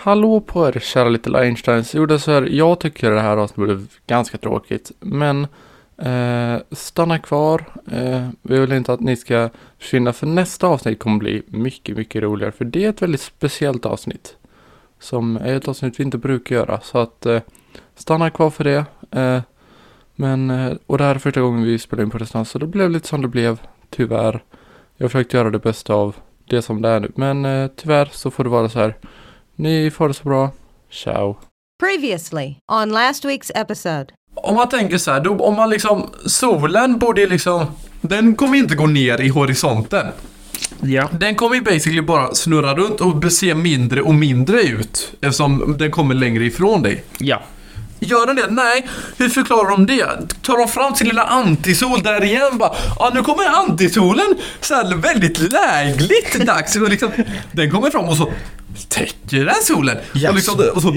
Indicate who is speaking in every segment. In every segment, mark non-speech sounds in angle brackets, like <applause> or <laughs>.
Speaker 1: Hallå på er kära Little Einsteins. Jo, det är så här, jag tycker det här avsnittet blev ganska tråkigt, men eh, stanna kvar. Eh, vi vill inte att ni ska försvinna, för nästa avsnitt kommer bli mycket, mycket roligare, för det är ett väldigt speciellt avsnitt. Som är ett avsnitt vi inte brukar göra, så att eh, stanna kvar för det. Eh, men, eh, och det här är första gången vi spelar in på distans, så det blev lite som det blev, tyvärr. Jag försökte göra det bästa av det som det är nu, men eh, tyvärr så får det vara så här. Ni får det så bra. Ciao.
Speaker 2: Previously on last week's episode.
Speaker 3: Om man tänker så här, då, om man liksom, solen borde ju liksom, den kommer inte gå ner i horisonten.
Speaker 4: Ja.
Speaker 3: Den kommer ju basically bara snurra runt och se mindre och mindre ut. Eftersom den kommer längre ifrån dig.
Speaker 4: Ja.
Speaker 3: Gör den det? Nej. Hur förklarar de det? Tar de fram sin lilla antisol där igen bara, ja nu kommer antisolen så här väldigt lägligt dags. Och liksom, den kommer fram och så täcker den solen. Och, liksom, och så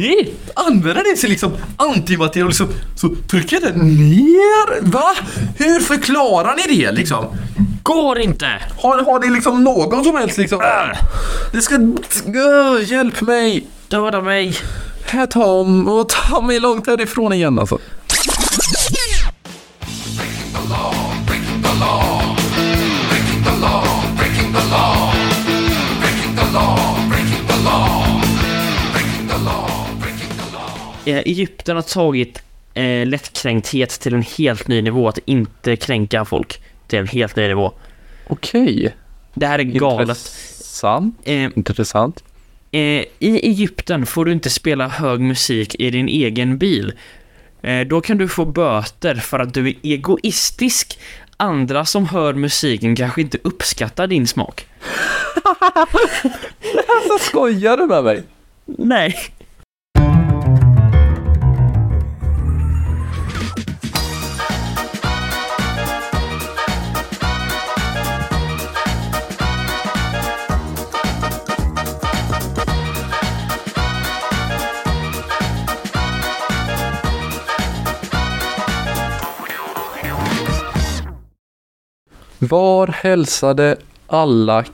Speaker 3: använder den sin liksom antimateria och liksom, så trycker den ner. Va? Hur förklarar ni det liksom?
Speaker 4: Går inte!
Speaker 3: Har, har ni liksom någon som helst liksom... Äh, Det ska... Öh, hjälp mig!
Speaker 4: Döda mig!
Speaker 3: Här Tom, och ta mig långt härifrån igen alltså.
Speaker 4: Eh, Egypten har tagit eh, lättkränkthet till en helt ny nivå. Att inte kränka folk till en helt ny nivå.
Speaker 5: Okej.
Speaker 4: Det här är galet.
Speaker 5: Intressant.
Speaker 4: Eh,
Speaker 5: Intressant.
Speaker 4: Eh, I Egypten får du inte spela hög musik i din egen bil. Eh, då kan du få böter för att du är egoistisk. Andra som hör musiken kanske inte uppskattar din smak.
Speaker 5: Alltså skojar du med mig?
Speaker 4: Nej.
Speaker 5: Var hälsade alla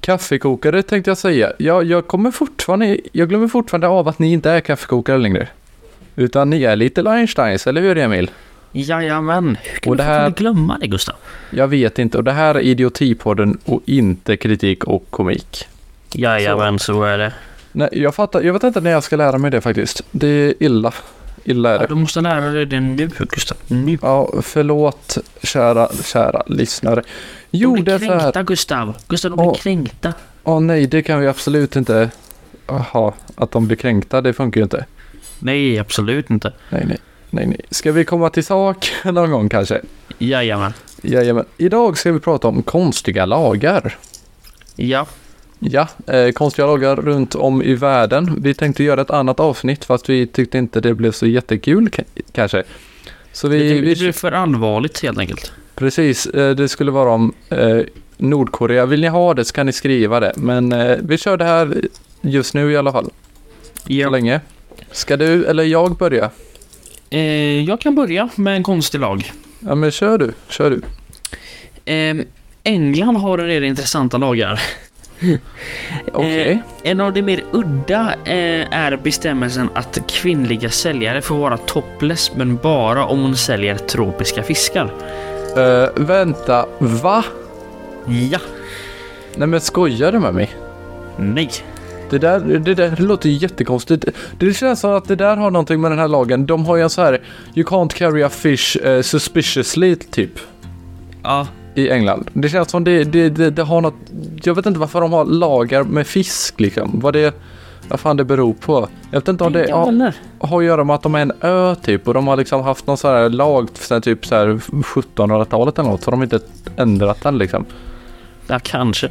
Speaker 5: kaffekokare tänkte jag säga. Jag, jag kommer fortfarande, jag glömmer fortfarande av att ni inte är kaffekokare längre. Utan ni är lite Einsteins, eller hur Emil?
Speaker 4: Jajamän. Hur kan
Speaker 5: Och
Speaker 4: du
Speaker 5: det här-
Speaker 4: fortfarande glömma det Gustav?
Speaker 5: Jag vet inte, och det här är idiotipodden och inte kritik och komik.
Speaker 4: Jajamän, så, är det.
Speaker 5: Nej, jag fattar, jag vet inte när jag ska lära mig det faktiskt. Det är illa. Illa är det.
Speaker 4: Du måste lära dig det nu Gustav. Nu.
Speaker 5: Ja, förlåt kära, kära lyssnare. Jo, det
Speaker 4: de blir
Speaker 5: är så här.
Speaker 4: kränkta Gustav. Gustav, de blir
Speaker 5: Åh.
Speaker 4: kränkta.
Speaker 5: Åh nej, det kan vi absolut inte. Jaha, att de blir kränkta, det funkar ju inte.
Speaker 4: Nej, absolut inte.
Speaker 5: Nej, nej, nej, nej. Ska vi komma till sak <laughs> någon gång kanske?
Speaker 4: Jajamän.
Speaker 5: Jajamän. Idag ska vi prata om konstiga lagar.
Speaker 4: Ja.
Speaker 5: Ja, eh, konstiga lagar runt om i världen. Vi tänkte göra ett annat avsnitt fast vi tyckte inte det blev så jättekul k- kanske. Så vi,
Speaker 4: Det, det blir
Speaker 5: vi
Speaker 4: för allvarligt helt enkelt.
Speaker 5: precis, eh, det skulle vara om eh, Nordkorea. Vill ni ha det så kan ni skriva det. Men eh, vi kör det här just nu i alla fall. så
Speaker 4: Ja.
Speaker 5: länge. Ska du eller jag börja?
Speaker 4: Eh, jag kan börja med en konstig lag.
Speaker 5: Ja men kör du, kör du.
Speaker 4: Ehm, England har en del intressanta lagar.
Speaker 5: Okej.
Speaker 4: En av de mer udda eh, är bestämmelsen att kvinnliga säljare får vara topless men bara om hon säljer tropiska fiskar.
Speaker 5: Eh, vänta, va?
Speaker 4: Ja.
Speaker 5: Nej men skojar du med mig?
Speaker 4: Nej.
Speaker 5: Det där, det där låter ju jättekonstigt. Det känns som att det där har någonting med den här lagen. De har ju en så här You can't carry a fish eh, suspiciously typ
Speaker 4: Ja.
Speaker 5: i England. Det känns som det, det, det, det har något. Jag vet inte varför de har lagar med fisk liksom. Vad det, vad fan det beror på. Jag vet inte om det, ja,
Speaker 4: Eller?
Speaker 5: har att göra med att de är en ö typ och de har liksom haft någon så här lag sen typ så här 1700-talet eller något så de har inte ändrat den liksom.
Speaker 4: Ja, kanske.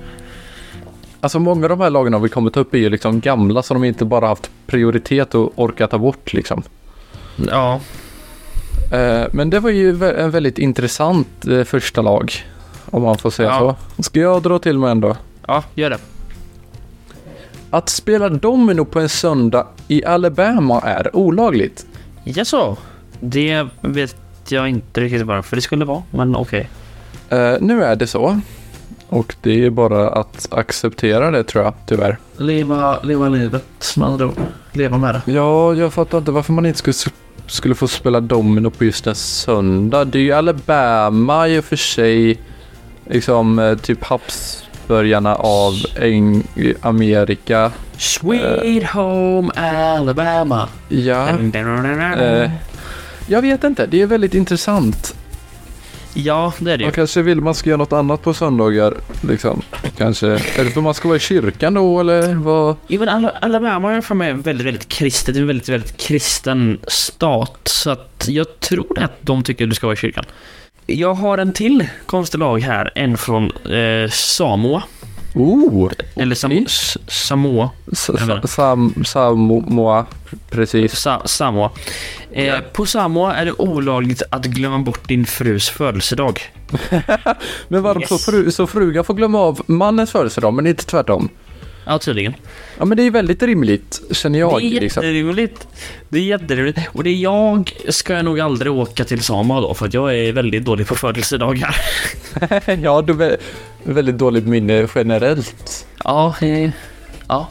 Speaker 5: Alltså många av de här lagarna vi kommit upp i är ju liksom gamla så de inte bara haft prioritet och orkat ta bort liksom.
Speaker 4: Ja.
Speaker 5: Eh, men det var ju vä- en väldigt intressant eh, första lag. Om man får säga
Speaker 4: Ja.
Speaker 5: så. Ska jag dra till med en då?
Speaker 4: Ja, gör det.
Speaker 5: Att spela domino på en söndag i Alabama är olagligt.
Speaker 4: Jaså? Det vet jag inte riktigt varför det skulle vara, men okej.
Speaker 5: Eh, nu är det så
Speaker 3: Och det är bara att acceptera det tror jag, tyvärr.
Speaker 6: Leva, leva livet med andra ord. Leva med det.
Speaker 3: Ja, jag fattar inte varför man inte skulle, skulle få spela domino på just en söndag. Det är ju Alabama i och för sig. Liksom eh, typ Habsburgarna av Eng- Amerika.
Speaker 4: Sweet home Alabama.
Speaker 3: Ja, eh, jag vet inte. Det är väldigt intressant.
Speaker 4: Ja, det är det ju.
Speaker 3: Man kanske vill man ska göra något annat på söndagar. Liksom. Kanske. Är det för man ska vara i kyrkan då eller vad?
Speaker 4: Jo, men Ala- Alabama har jag för mig är väldigt, väldigt kristet. Det är en väldigt, väldigt kristen stat. Så att jag tror att de tycker att du ska vara i kyrkan. Jag har en till konstlag här. En från eh, Samoa.
Speaker 3: Oh!
Speaker 4: Eller Sam-
Speaker 3: Okej.
Speaker 4: S- Samoa.
Speaker 3: Sa-
Speaker 4: Jag menar.
Speaker 3: sa- Sam, Samoa. Precis.
Speaker 4: Sa- Samoa. Eh, på Samoa är det olagligt att glömma bort din frus födelsedag.
Speaker 3: Men varför så,
Speaker 4: Yes.
Speaker 3: fru, så frugan får glömma av mannens födelsedag men inte tvärtom?
Speaker 4: Ja, tydligen.
Speaker 3: Ja men det är ju väldigt rimligt känner jag.
Speaker 4: det är
Speaker 3: liksom.
Speaker 4: jätteroligt. Det är jätteroligt. Och det är jag ska jag nog aldrig åka till Samoa då, för att jag är väldigt dålig på födelsedagar.
Speaker 3: <laughs> ja, du är väldigt dåligt minne generellt.
Speaker 4: Ja, eh, ja.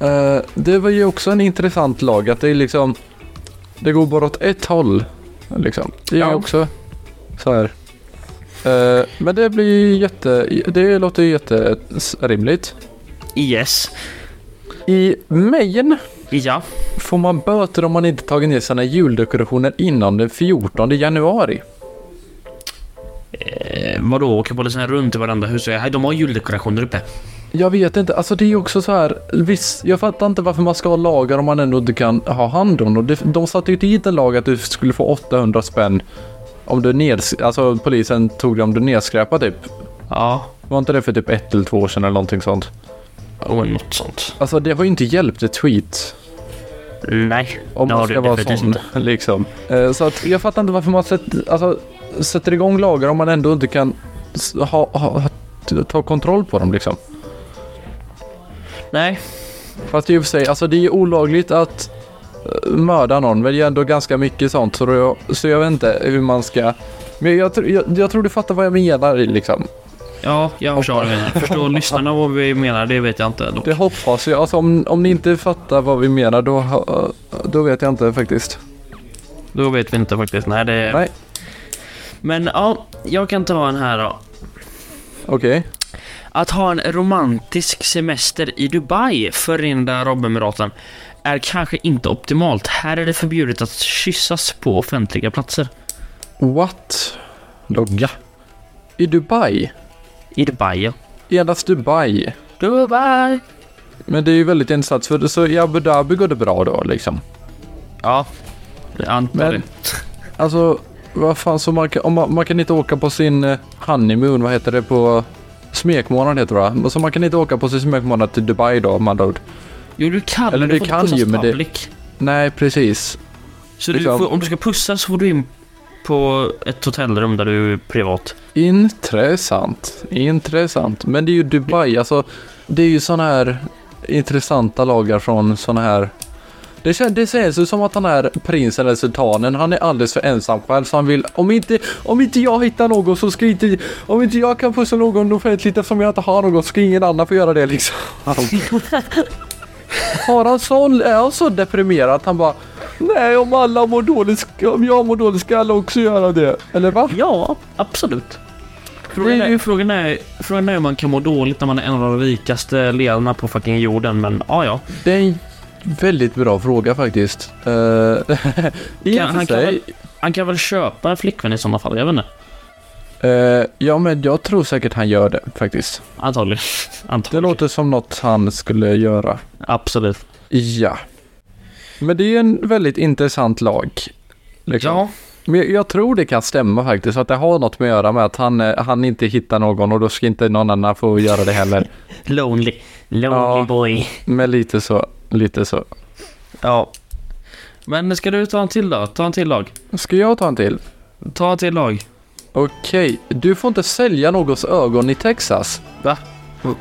Speaker 3: Eh, det var ju också en intressant lag att det är liksom, det går bara åt ett håll. Liksom. Det är
Speaker 4: Ja.
Speaker 3: också så här. Eh, men det blir ju jätte, det låter ju jätterimligt.
Speaker 4: Yes.
Speaker 3: I Maine
Speaker 4: Ja.
Speaker 3: får man böter om man inte tagit ner sina juldekorationer innan den 14 januari.
Speaker 4: Eh, vadå, åka polisen runt i varandra hus och säga, "Hej, de har juldekorationer uppe.
Speaker 3: Jag vet inte, alltså det är ju också så här, visst, jag fattar inte varför man ska ha lagar om man ändå inte kan ha hand om dem. De, de satte ju dit en lag att du skulle få 800 spänn om du neds, alltså polisen tog det om du nedskräpade typ.
Speaker 4: Ja.
Speaker 3: Var inte det för typ ett eller två år sedan eller någonting sånt?
Speaker 4: Oh, något sånt.
Speaker 3: Alltså det har ju inte hjälpt ett tweet.
Speaker 4: Nej,
Speaker 3: Om
Speaker 4: det
Speaker 3: man
Speaker 4: har
Speaker 3: ska
Speaker 4: du
Speaker 3: vara
Speaker 4: definitivt
Speaker 3: sån,
Speaker 4: inte.
Speaker 3: liksom. Eh, Så att jag fattar inte varför man sätter, alltså, sätter igång lagar om man ändå inte kan s- ha, ha, ta kontroll på dem liksom.
Speaker 4: Nej.
Speaker 3: Fast i och för sig, alltså det är ju olagligt att eh, mörda någon, men det är ändå ganska mycket sånt så, då, så jag vet inte hur man ska... Men jag, tr- jag, jag tror du fattar vad jag menar liksom.
Speaker 4: Ja, jag förstår. det. Förstår lyssnarna vad vi menar, det vet jag inte. Då.
Speaker 3: Det hoppas jag. Alltså om, om ni inte fattar vad vi menar då, ha- eh, då vet jag inte faktiskt.
Speaker 4: Då vet vi inte faktiskt. Nej, det...
Speaker 3: Nej.
Speaker 4: Men ja, jag kan ta en här då.
Speaker 3: Okej.
Speaker 4: Att ha en romantisk semester i Dubai, Förenade Arabemiraten, är kanske inte optimalt. Här är det förbjudet att kyssas på offentliga platser.
Speaker 3: What? Logga. I Dubai?
Speaker 4: I Dubai, ja.
Speaker 3: Endast Dubai.
Speaker 4: Dubai!
Speaker 3: Men det är ju väldigt intressant för så i Abu Dhabi går det bra då liksom.
Speaker 4: Ja, jag antar
Speaker 3: Men-
Speaker 4: det.
Speaker 3: Alltså, vad fan, så man kan, om man, man kan inte åka på sin eh, honeymoon, vad heter det på smekmånad heter det va? Så man kan inte åka på sin smekmånad till Dubai då med andra ord.
Speaker 4: Jo, du kan.
Speaker 3: Eller
Speaker 4: men
Speaker 3: du
Speaker 4: får inte
Speaker 3: kan
Speaker 4: pussas
Speaker 3: ju, men det-
Speaker 4: public.
Speaker 3: Nej, precis.
Speaker 4: Så du
Speaker 3: liksom-
Speaker 4: får, om du ska pussa så får du in på ett hotellrum där du är privat.
Speaker 3: Intressant, intressant. Men det är ju Dubai, alltså det är ju sådana här intressanta lagar från sådana här det känns, det känns ju som att han är prinsen eller sultanen, han är alldeles för ensam själv så han vill, om inte, om inte jag hittar någon så ska inte, om inte jag kan pussa någon offentligt eftersom jag inte har någon ska ingen annan få göra det liksom. Har han sån, är han så deprimerad att han bara, nej om alla mår dåligt, ska- om jag mår dåligt ska alla också göra det. Eller va?
Speaker 4: Ja, absolut. Frågan
Speaker 3: Det är
Speaker 4: är,
Speaker 3: ju-
Speaker 4: frågan, är, frågan är hur man kan må dåligt när man är en av de rikaste ledarna på fucking jorden, men ja, ja.
Speaker 3: Det är en väldigt bra fråga faktiskt. Uh, <laughs> I och för
Speaker 4: Kan- han kan
Speaker 3: sig.
Speaker 4: Han kan väl köpa en flickvän i sådana fall, jag vet inte.
Speaker 3: eh, ja men jag tror säkert han gör det faktiskt.
Speaker 4: Antagligen. <laughs>
Speaker 3: Det
Speaker 4: Antagligen.
Speaker 3: låter som något han skulle göra.
Speaker 4: Absolut.
Speaker 3: Ja. Men det är en väldigt intressant lag. Liksom.
Speaker 4: Ja,
Speaker 3: Men jag tror det kan stämma faktiskt. Att det har något med att göra med att han, eh, han inte hittar någon och då ska inte någon annan få göra det heller.
Speaker 4: lonely. Lonely
Speaker 3: Ja.
Speaker 4: boy.
Speaker 3: Men lite så, lite så.
Speaker 4: Ja. Men ska du ta en till då? Ta en till lag.
Speaker 3: Ska jag ta en till?
Speaker 4: Ta en till lag.
Speaker 3: Okej, du får inte sälja någons ögon i Texas.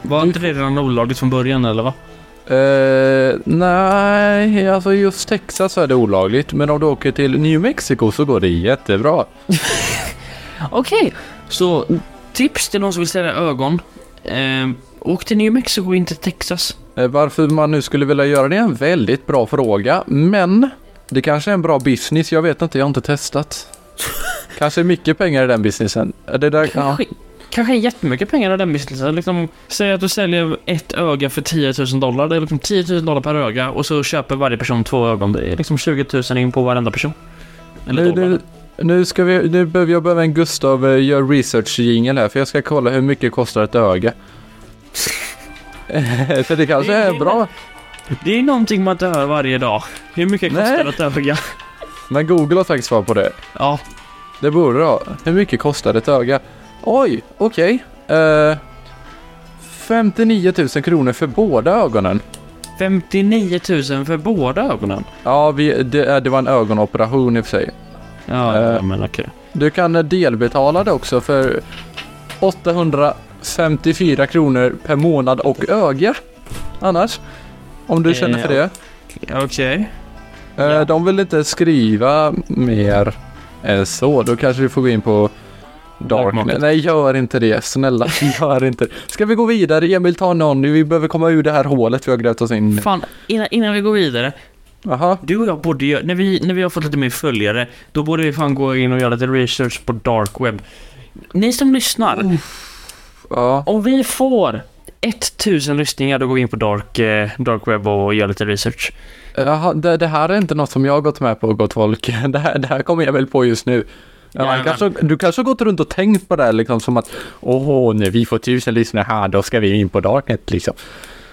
Speaker 4: Var inte det redan olagligt från början eller va?
Speaker 3: Eh, nej, alltså just Texas så är det olagligt. Men om du åker till New Mexico så går det jättebra.
Speaker 4: Okej, så tips till någon som vill sälja ögon. Ehm, åk till New Mexico, inte Texas.
Speaker 3: Eh, Varför man nu skulle vilja göra det är en väldigt bra fråga, men det kanske är en bra business. Jag vet inte, jag har inte
Speaker 4: <laughs>
Speaker 3: testat. Kanske är mycket pengar i den businessen. Eh, Det där, ja.
Speaker 4: Kanske, kanske är jättemycket pengar i den businessen. Liksom, säg att du säljer ett öga för 10 000 dollar. Det är liksom 10 000 dollar per öga och så köper varje person två ögon. Det är liksom 20 000 in på varenda person. Eller
Speaker 3: Nu,
Speaker 4: dollar.
Speaker 3: nu, nu ska vi, nu behöver jag behöver en Gustav eh, gör research jingle här för jag ska kolla hur mycket kostar ett
Speaker 4: <laughs>
Speaker 3: öga. <laughs> Eh, för det kanske är bra.
Speaker 4: Det är någonting man inte hör varje dag. Hur mycket
Speaker 3: Nej.
Speaker 4: kostar ett öga? <laughs>
Speaker 3: Men Google har faktiskt svar på det.
Speaker 4: Ja,
Speaker 3: Det borde det ha. Hur mycket kostar ett öga? Oj, okej. Eh, 59 000 kronor för båda ögonen.
Speaker 4: 59 000 för båda ögonen.
Speaker 3: Ja, vi, det, eh, det var en ögonoperation i och för sig.
Speaker 4: Ja,
Speaker 3: Eh.
Speaker 4: ja, men okej.
Speaker 3: Du kan eh, delbetala det också för 854 kronor per månad och öga. Annars. Om du känner för det.
Speaker 4: Okej.
Speaker 3: Eh,
Speaker 4: Ja.
Speaker 3: De vill inte skriva mer än så. Då kanske vi får gå in på
Speaker 4: Dark
Speaker 3: Darknet.
Speaker 4: Market.
Speaker 3: Nej, gör inte det. Snälla, <laughs> gör inte det. Ska vi gå vidare? Emil, ta någon. Vi behöver komma ur det här hålet vi har grävt oss in i.
Speaker 4: Fan, innan, innan vi går vidare.
Speaker 3: Jaha.
Speaker 4: Du och jag borde ju, när vi, när vi har fått lite mer följare, då borde vi fan gå in och göra lite research på dark web. Ni som lyssnar,
Speaker 3: Ja.
Speaker 4: om vi får 1000 lyssningar då går vi in på dark, eh, dark web och gör lite research.
Speaker 3: Jaha, det, det här är inte något som jag har gått med på, gott folk. <laughs> Det här, det här kommer jag väl på just nu. Ja, man
Speaker 4: Jajamän.
Speaker 3: kanske, du kanske har gått runt och tänkt på det här liksom som att åh, när vi får tusen lyssnare här, då ska vi in på Darknet liksom.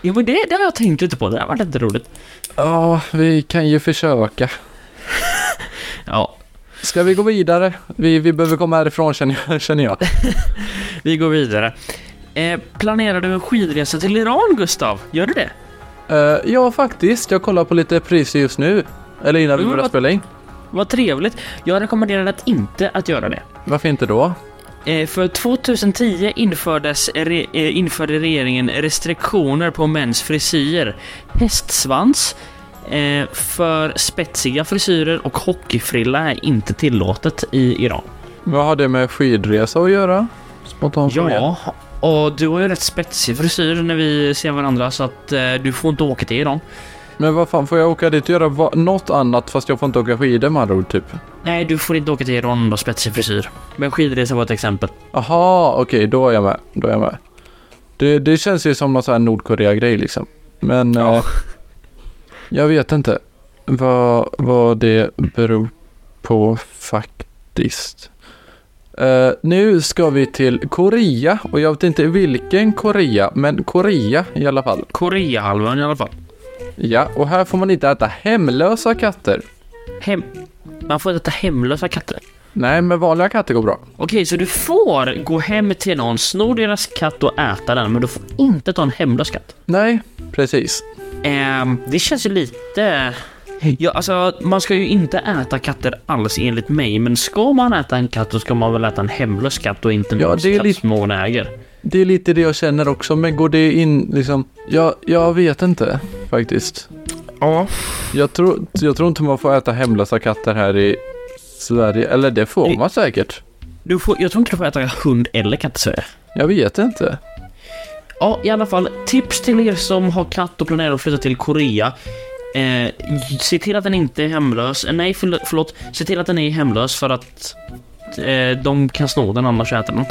Speaker 4: Jo men det, det har jag tänkt lite på, det har varit lite roligt.
Speaker 3: Ja, vi kan ju försöka.
Speaker 4: Ja,
Speaker 3: Ska vi gå vidare? Vi, vi behöver komma härifrån känner jag. <laughs> Känner jag.
Speaker 4: vi går vidare. Eh, planerar du en skidresa till Iran Gustav? Gör du det?
Speaker 3: Eh, ja, faktiskt. Jag kollar på lite priser just nu. Eller innan vi
Speaker 4: Mm,
Speaker 3: börjar
Speaker 4: vad-
Speaker 3: spela in.
Speaker 4: Vad trevligt. Jag rekommenderar att inte att göra det.
Speaker 3: Varför inte då?
Speaker 4: Eh, För 2010 infördes, re, eh, införde regeringen restriktioner på mäns frisyrer. Hästsvans eh, för spetsiga frisyrer och hockeyfrilla är inte tillåtet i Iran.
Speaker 3: Vad har det med skidresa att göra? Spontant fråga.
Speaker 4: Ja, och du har ju rätt spetsig frisyr när vi ser varandra så att eh, du får inte åka till Iran.
Speaker 3: Men vad fan, får jag åka dit och göra va- något annat fast jag får inte åka skidor med andra ord, typ?
Speaker 4: Nej, du får inte åka till Iran om du har spetsig frisyr. Men skidresa var ett exempel.
Speaker 3: Aha, okej, då är jag med. Då är jag med. Det, det känns ju som någon sån här Nordkorea-grej liksom. Men... Eh, jag vet inte vad, vad det beror på faktiskt. Eh, nu ska vi till Korea och jag vet inte vilken Korea, men Korea i alla fall.
Speaker 4: Koreahalvön i alla fall.
Speaker 3: Ja, och här får man inte äta hemlösa katter.
Speaker 4: Hem... Man får inte ta hemlösa katter.
Speaker 3: Nej, men vanliga katter går bra.
Speaker 4: Okej, så du får gå hem till någon, sno deras katt och äta den, men du får inte ta en hemlös katt.
Speaker 3: Nej, precis.
Speaker 4: Ehm, det känns ju lite... Ja, alltså, man ska ju inte äta katter alls enligt mig, men ska man äta en katt så ska man väl äta en hemlös katt och inte
Speaker 3: Ja,
Speaker 4: någons
Speaker 3: det är
Speaker 4: katt
Speaker 3: lite-
Speaker 4: som någon äger.
Speaker 3: Det är lite det jag känner också, men går det in liksom? Jag, jag vet inte faktiskt.
Speaker 4: Ja.
Speaker 3: Jag tror, jag tror inte man får äta hemlösa katter här i Sverige. Eller det får man säkert.
Speaker 4: Du får, jag tror inte du får äta hund eller katt i Sverige.
Speaker 3: Jag vet inte.
Speaker 4: Ja, i alla fall, tips till er som har katt och planerar att flytta till Korea. Eh, se till att den inte är hemlös. Eh, nej, förl- förlåt. Se till att den är hemlös för att eh, de kan sno den annars äter den.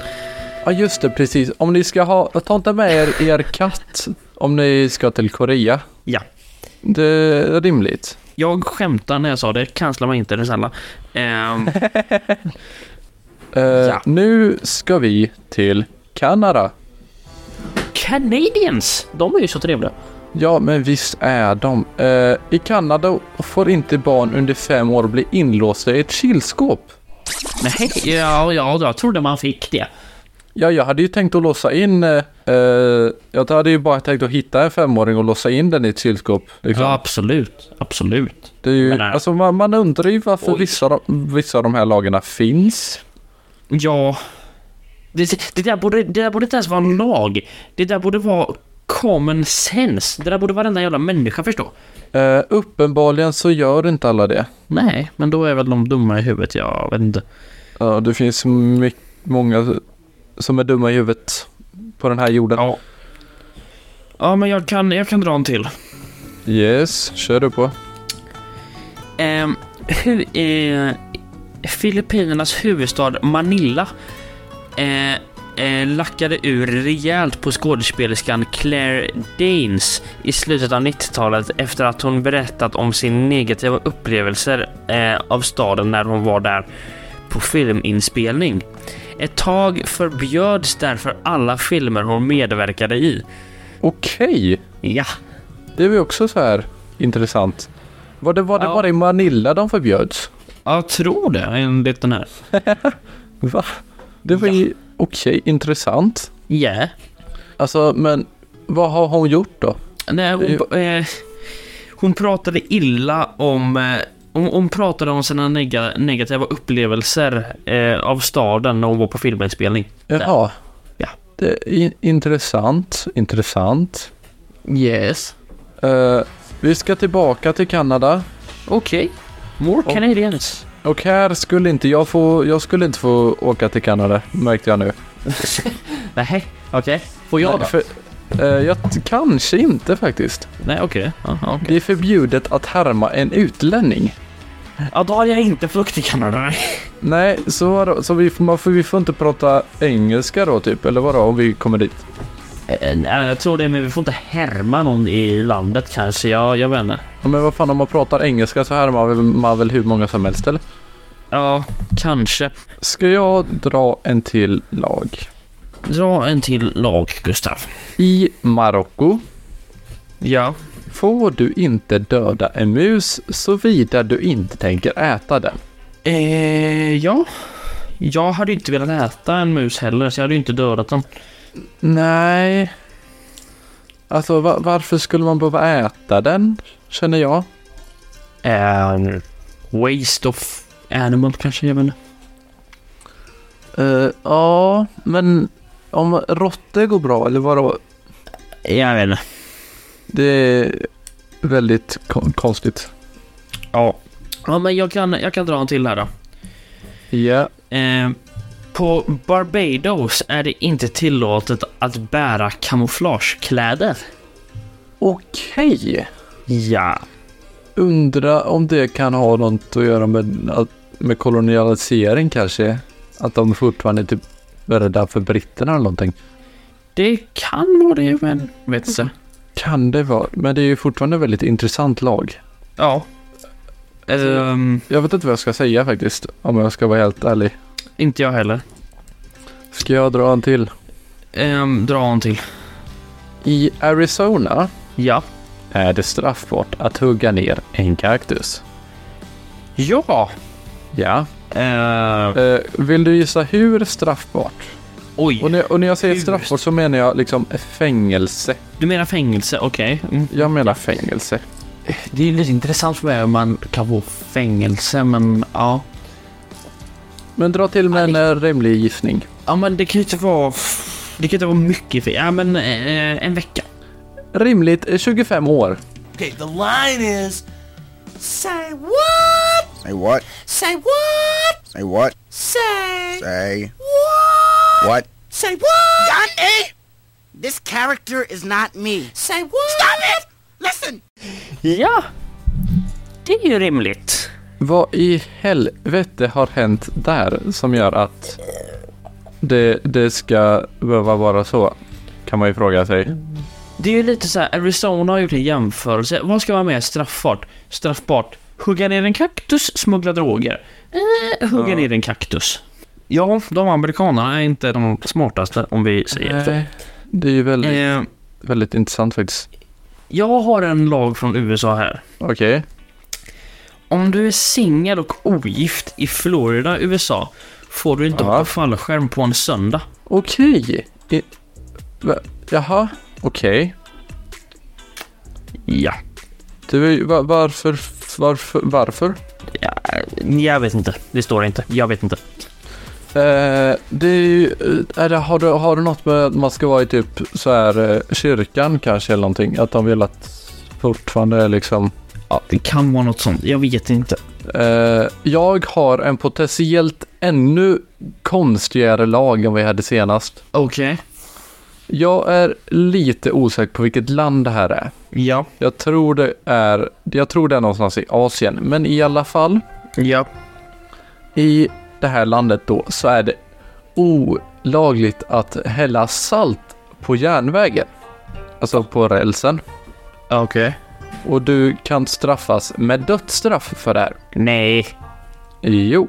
Speaker 3: Ja just det, precis. Om ni ska ha, ta inte med er er katt om ni ska till Korea.
Speaker 4: Ja.
Speaker 3: Det är rimligt.
Speaker 4: Jag skämtar när jag sa det. Cancella mig inte, det är snälla. Ehm,
Speaker 3: Eh,
Speaker 4: Ja.
Speaker 3: Nu ska vi till Kanada.
Speaker 4: Canadians! De är ju så trevliga.
Speaker 3: Ja, men visst är de. Eh, I Kanada får inte barn under fem år bli inlåsta i ett kylskåp.
Speaker 4: Men hej, ja, ja, jag trodde man fick det.
Speaker 3: Ja, jag hade ju tänkt att låsa in... Eh, eh, jag hade ju bara tänkt att hitta en femåring och låsa in den i ett kylskåp. Liksom.
Speaker 4: Ja, absolut. Absolut.
Speaker 3: det är ju,
Speaker 4: men nej.
Speaker 3: alltså, man, man undrar ju varför
Speaker 4: Oj.
Speaker 3: vissa, av de- vissa av de här lagarna finns.
Speaker 4: Ja. Det, det, där borde, det där borde inte ens vara en lag. Det där borde vara common sense. Det där borde varenda jävla människa förstå.
Speaker 3: Eh, uppenbarligen så gör inte alla det.
Speaker 4: Nej, men då är väl de dumma i huvudet. Jag vet inte.
Speaker 3: Ja, det finns my- många som är dumma i huvudet. på den här jorden.
Speaker 4: Ja. Ja, men jag kan, jag kan dra en till.
Speaker 3: Yes, kör du på.
Speaker 4: Ehm, hur är Filippinernas huvudstad Manila eh, eh, lackade ur rejält på skådespelerskan Claire Danes i slutet av 90-talet efter att hon berättat om sin negativa upplevelser eh, av staden när hon var där på filminspelning. Ett tag förbjöds därför alla filmer hon medverkade i.
Speaker 3: Okej,
Speaker 4: Ja.
Speaker 3: det är ju också så här intressant. Var det, var det
Speaker 4: Ja.
Speaker 3: bara i Manila de förbjöds?
Speaker 4: Jag tror det, enligt den här.
Speaker 3: Va? Det var ju okej, intressant.
Speaker 4: Ja.
Speaker 3: Alltså, men vad har hon gjort då?
Speaker 4: Nej, hon, eh, hon pratade illa om... Eh, hon, hon pratade om sina nega, negativa upplevelser eh, av staden när hon var på filminspelning.
Speaker 3: Jaha.
Speaker 4: Ja.
Speaker 3: Det är in- intressant, intressant.
Speaker 4: Yes.
Speaker 3: Eh, vi ska tillbaka till Kanada.
Speaker 4: Okej. More Canadians. <laughs>
Speaker 3: Och här skulle inte jag få, jag skulle inte få åka till Kanada, märkte jag nu.
Speaker 4: Nej, okej. Får jag då?
Speaker 3: Nej, för, eh, jag t- kanske inte faktiskt.
Speaker 4: Nej, okej. Ja, Ja, okej.
Speaker 3: Det är förbjudet att härma en utlänning.
Speaker 4: ja, då hade jag inte flukt till Kanada. nej.
Speaker 3: Nej, så, vadå? så vi, får- man får, vi får inte prata engelska då typ, eller vadå om vi kommer dit?
Speaker 4: Eh, nej, jag tror det, men vi får inte härma någon i landet kanske. Ja, jag vet inte.
Speaker 3: Ja, Men vad fan om man pratar engelska så härmar väl- man väl hur många som helst eller?
Speaker 4: Ja, kanske.
Speaker 3: Ska jag dra en till lag?
Speaker 4: Dra en till lag, Gustav.
Speaker 3: I Marocko
Speaker 4: Ja.
Speaker 3: får du inte döda en mus såvida du inte tänker äta den.
Speaker 4: Eh, ja. Jag hade inte velat äta en mus heller, så jag hade ju inte dödat den.
Speaker 3: Nej. Alltså va- varför skulle man behöva äta den? Känner jag.
Speaker 4: Eh, waste of animal kanske, jag menar.
Speaker 3: Eh, ja, men om råttor går bra eller vadå?
Speaker 4: Jag vet inte.
Speaker 3: Det är väldigt kon- konstigt.
Speaker 4: Ja. Ja, men jag kan, jag kan dra en till här då.
Speaker 3: Ja.
Speaker 4: Eh, på Barbados är det inte tillåtet att bära kamouflagekläder.
Speaker 3: Okej.
Speaker 4: Ja.
Speaker 3: Undra om det kan ha något att göra med, att- med kolonialisering kanske? Att de fortfarande är typ rädda för britterna eller någonting.
Speaker 4: Det kan vara det, men vet inte.
Speaker 3: Kan det vara, men det är ju fortfarande ett väldigt intressant lag.
Speaker 4: Ja. Ehm,
Speaker 3: Jag vet inte vad jag ska säga faktiskt, om jag ska vara helt ärlig.
Speaker 4: inte jag heller.
Speaker 3: Ska jag dra en till?
Speaker 4: Ehm, dra en till.
Speaker 3: I Arizona
Speaker 4: Ja.
Speaker 3: är det straffbart att hugga ner en kaktus.
Speaker 4: Ja!
Speaker 3: Ja.
Speaker 4: Eh,
Speaker 3: Eh, vill du gissa hur straffbart?
Speaker 4: oj.
Speaker 3: Och när, och när jag säger
Speaker 4: Hur?
Speaker 3: straffbart så menar jag liksom fängelse.
Speaker 4: Du menar fängelse, okej. Mm.
Speaker 3: Jag menar fängelse.
Speaker 4: Det är ju lite intressant för mig om man kan få fängelse, men ja.
Speaker 3: Men dra till med en eh, rimlig gissning.
Speaker 4: Ja, men det kan ju inte vara... Det kan inte vara mycket för... Ja, men eh, en vecka.
Speaker 3: Rimligt eh, 25 år.
Speaker 7: Okay, the line is say what?
Speaker 8: Say what?
Speaker 7: Say what?
Speaker 8: Say what?
Speaker 7: Say
Speaker 8: Say
Speaker 7: what?
Speaker 8: what?
Speaker 7: Say what?
Speaker 8: God, eh? This character is not me.
Speaker 7: Say what? Stop it!
Speaker 8: Listen!
Speaker 4: Ja! Det är ju rimligt.
Speaker 3: Vad i helvete har hänt där som gör att det, det ska behöva vara så? Kan man ju fråga sig.
Speaker 4: Det är ju lite så här, Arizona har gjort en jämförelse. Vad ska vara mer straffbart? Straffbart. Hugga ner en kaktus, smuggla droger. Eh, hugga ner en kaktus. Ja, de amerikanerna är inte de smartaste om vi säger så.
Speaker 3: Nej, det är ju väldigt,
Speaker 4: Eh,
Speaker 3: väldigt intressant faktiskt.
Speaker 4: jag har en lag från USA här.
Speaker 3: Okej.
Speaker 4: Om du är singel och ogift i Florida, USA, får du inte
Speaker 3: Ja.
Speaker 4: hoppa fallskärm på en söndag.
Speaker 3: Okej. I- va- Jaha, okej.
Speaker 4: Ja.
Speaker 3: Du, är ju- va- varför, varför, varför?
Speaker 4: Jag vet inte. Det står inte. Jag vet inte.
Speaker 3: Eh, det är ju, eh, är det, har, du, har du något med att man ska vara i typ så här eh, kyrkan kanske eller någonting? Att de vill att fortfarande är liksom.
Speaker 4: Ja, det kan vara något sånt. Jag vet inte.
Speaker 3: Eh, jag har en potentiellt ännu konstigare lag än vi hade senast.
Speaker 4: Okej.
Speaker 3: Jag är lite osäker på vilket land det här är.
Speaker 4: Ja.
Speaker 3: Jag tror det är, jag tror det är någonstans i Asien, men i alla fall
Speaker 4: Ja.
Speaker 3: i det här landet då så är det olagligt att hälla salt på järnvägen. Alltså på rälsen.
Speaker 4: Okej.
Speaker 3: Och du kan straffas med dödsstraff för det här.
Speaker 4: Nej.
Speaker 3: Jo,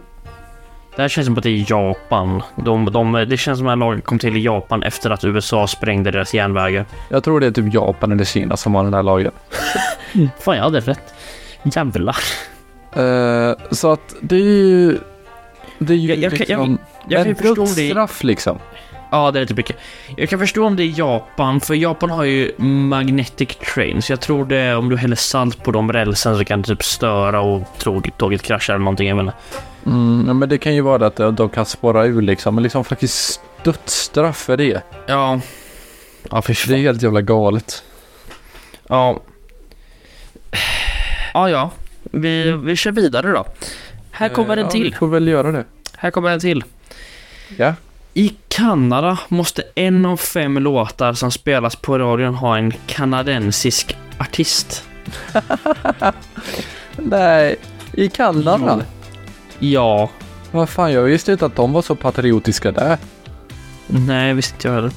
Speaker 4: Det här känns som att det är Japan. De, de, det känns som att den här lagen kom till i Japan efter att USA sprängde deras järnvägar.
Speaker 3: jag tror det är typ Japan eller Kina som har den här lagen.
Speaker 4: Fan, jag hade rätt. Jävlar.
Speaker 3: Eh, så att det är ju... Det är ju
Speaker 4: Jag- jag kan- jag-
Speaker 3: liksom...
Speaker 4: jag kan
Speaker 3: en
Speaker 4: förstå det.
Speaker 3: dödsstraff liksom.
Speaker 4: Ja, det är lite mycket. Jag kan förstå om det är Japan, för Japan har ju magnetic trains. Jag tror det, om du häller salt på de rälsen så kan det typ störa och tro- tåget kraschar eller någonting. Jag menar.
Speaker 3: Mm, ja, men det kan ju vara att de de kan spåra ur liksom. Men liksom faktiskt dödsstraff för det.
Speaker 4: Ja. Ja, för
Speaker 3: Det är helt jävla galet.
Speaker 4: Ja. Ja, ja. Vi, vi kör vidare då. Mm. Här kommer
Speaker 3: Eh, Ja,
Speaker 4: en
Speaker 3: vi
Speaker 4: till.
Speaker 3: får väl göra det.
Speaker 4: Här kommer en till.
Speaker 3: Ja.
Speaker 4: I Kanada måste en av fem låtar som spelas på radion ha en kanadensisk artist.
Speaker 3: Nej, i Kanada.
Speaker 4: Ja.
Speaker 3: Vad fan, jag visste inte att de var så patriotiska där.
Speaker 4: Nej, visste inte jag heller.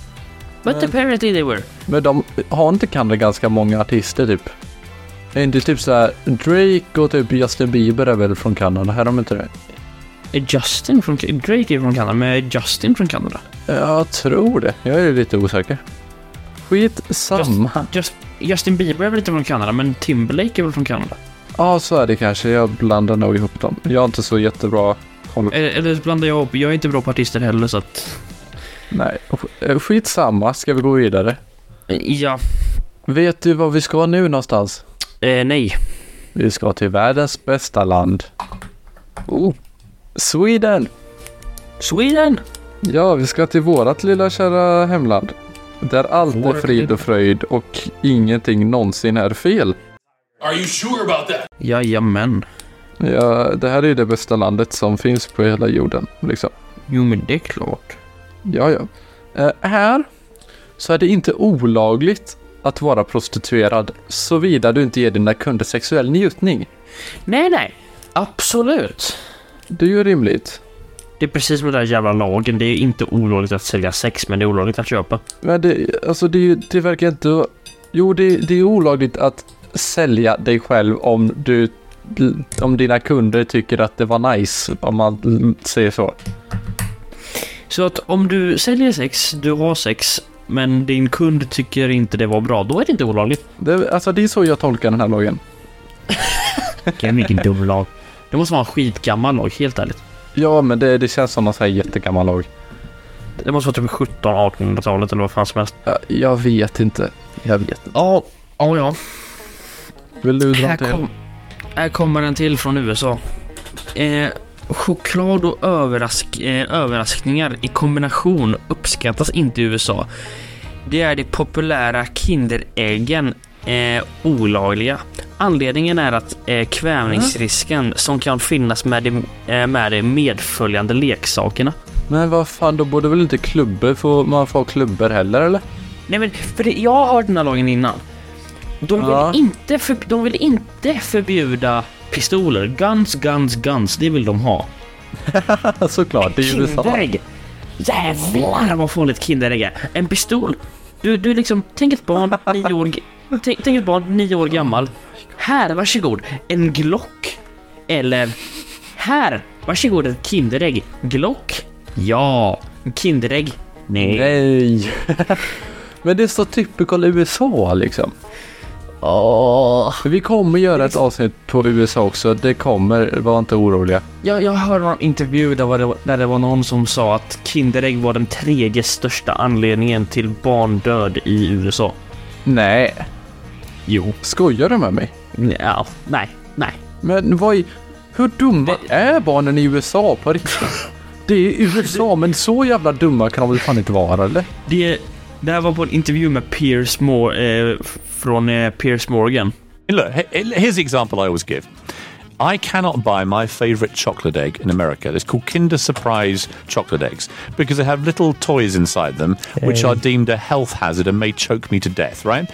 Speaker 4: But
Speaker 3: Men-
Speaker 4: apparently they were.
Speaker 3: Men de har inte Kanada ganska många artister typ? Är inte typ såhär Drake och typ Justin Bieber är väl från Kanada? Är de inte det?
Speaker 4: Är Justin från... Drake är från Kanada, men är Justin från Kanada?
Speaker 3: Jag tror det. Jag är lite osäker. Skitsamma. Ja,
Speaker 4: Just, Justin Bieber är väl inte från Kanada, men Timberlake är väl från Kanada?
Speaker 3: så är det kanske. Jag blandar nog ihop dem. Jag har inte så jättebra koll.
Speaker 4: Eller, Eh, eller så blandar jag upp. Jag är inte bra på artister heller, så att...
Speaker 3: Nej, sk- eh, skitsamma. Ska vi gå vidare?
Speaker 4: Eh, Ja.
Speaker 3: Vet du var vi ska nu någonstans?
Speaker 4: Eh, nej.
Speaker 3: Vi ska till världens bästa land.
Speaker 4: Oh.
Speaker 3: Sweden!
Speaker 4: Sweden!
Speaker 3: Ja, vi ska till vårat lilla kära hemland. Där allt är frid och fröjd och ingenting någonsin är fel.
Speaker 4: Jajamän.
Speaker 3: Ja, det här är ju det bästa landet som finns på hela jorden. Liksom.
Speaker 4: Jo, men det är klart.
Speaker 3: Ja, ja. Eh, här så är det inte olagligt att vara prostituerad såvida du inte ger dina kunder sexuell njutning.
Speaker 4: Nej, nej. Absolut.
Speaker 3: Det är ju rimligt.
Speaker 4: Det är precis som den där jävla lagen. Det är inte olagligt att sälja sex, men det är olagligt att köpa.
Speaker 3: Men det, alltså det, är ju- det verkar inte... Jo, det, det är olagligt att sälja dig själv om du... Om dina kunder tycker att det var nice, om man säger så.
Speaker 4: Så att om du säljer sex, du har sex, men din kund tycker inte det var bra, då är det inte olagligt.
Speaker 3: Det, alltså det är så jag tolkar den här lagen.
Speaker 4: Vilken, vilken dum lag. Det måste vara en skitgammal lag, helt ärligt.
Speaker 3: Ja, men det, det känns som någon sån här jättegammal lag.
Speaker 4: Det måste vara typ 1700-1800-talet eller vad fan som helst.
Speaker 3: Ja, Jag vet inte. Jag vet inte.
Speaker 4: Ja, ja, ja.
Speaker 3: Vill du dra
Speaker 4: Här,
Speaker 3: till?
Speaker 4: kom, här kommer en till från USA. Eh, choklad och överrask, eh, överraskningar i kombination uppskattas inte i USA. Det är de populära Kinderäggen eh, olagliga. Anledningen är att eh, kvävningsrisken som kan finnas med de, eh, med de medföljande leksakerna.
Speaker 3: Men vad fan, då borde väl inte klubbor få, man få ha klubbor heller eller? <laughs>
Speaker 4: Nej men, för det, jag har hört den här lagen innan. De vill,
Speaker 3: Ja.
Speaker 4: inte för, de vill inte förbjuda pistoler. Guns, guns, guns. Det vill de ha.
Speaker 3: Såklart, det är ju USA.
Speaker 4: Kinderägg! Jävlar vad farligt Kinderägg är. En pistol. Du, du liksom, tänk
Speaker 3: <laughs>
Speaker 4: ett barn, nio år, g- tänk, tänk ett barn, nio år gammal. Här, varsågod, en Glock. Eller, här, varsågod ett Kinderägg. Glock? Ja. Kinderägg? Nej.
Speaker 3: Nej. <laughs> Men det är så typical USA liksom.
Speaker 4: Åh.
Speaker 3: Vi kommer göra ett avsnitt på USA också. Det kommer, var inte oroliga.
Speaker 4: Jag, jag hörde någon intervju där, var det, där det var någon som sa att Kinderägg var den tredje största anledningen till barndöd i USA.
Speaker 3: Nej.
Speaker 4: Jo.
Speaker 3: Skojar du med mig?
Speaker 4: Ja, nej, nej.
Speaker 3: Men vad i... Hur dumma är barnen i USA på <laughs> riktigt? Det är USA, men så jävla dumma kan de väl fan inte vara eller?
Speaker 4: Det, det här var på en intervju med Piers Mor- eh, f- från eh, Piers Morgan.
Speaker 9: Look, h- h- here's the example I always give. I cannot buy my favorite chocolate egg in America. It's called Kinder Surprise chocolate eggs because they have little toys inside them which are deemed a health hazard and may choke me to death, right?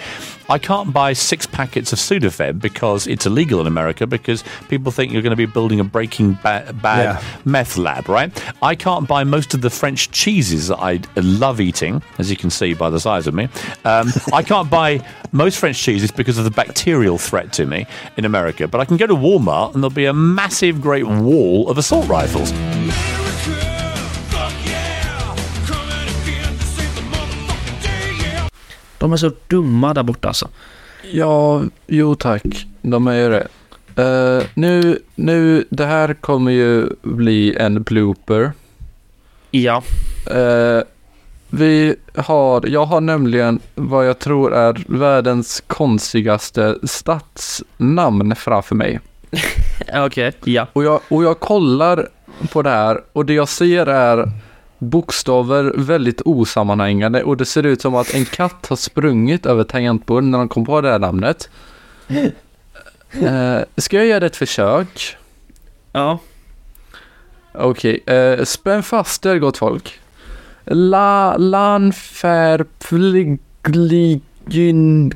Speaker 9: I can't buy six packets of Sudafed because it's illegal in America because people think you're going to be building a breaking ba- bad
Speaker 10: Yeah.
Speaker 9: meth lab, right? I can't buy most of the French cheeses that I love eating, as you can see by the size of me. Um, I can't buy most French cheeses because of the bacterial threat to me in America. But I can go to Walmart and there'll be a massive, great wall of assault rifles.
Speaker 4: De är så dumma där borta alltså.
Speaker 3: Ja, jo tack. De är ju det. Eh, nu, nu, det här kommer ju bli en blooper.
Speaker 4: Ja,
Speaker 3: Eh, vi har, jag har nämligen vad jag tror är världens konstigaste stadsnamn framför mig.
Speaker 4: okej, ja.
Speaker 3: Och jag, och jag kollar på det här och det jag ser är bokstäver väldigt osammanhängande och det ser ut som att en katt har sprungit över tangentbordet när de kom på det här namnet. Eh, ska jag göra ett försök?
Speaker 4: Ja,
Speaker 3: Okej, eh, spänn fast er gott folk. La, lanfär, pligligyn,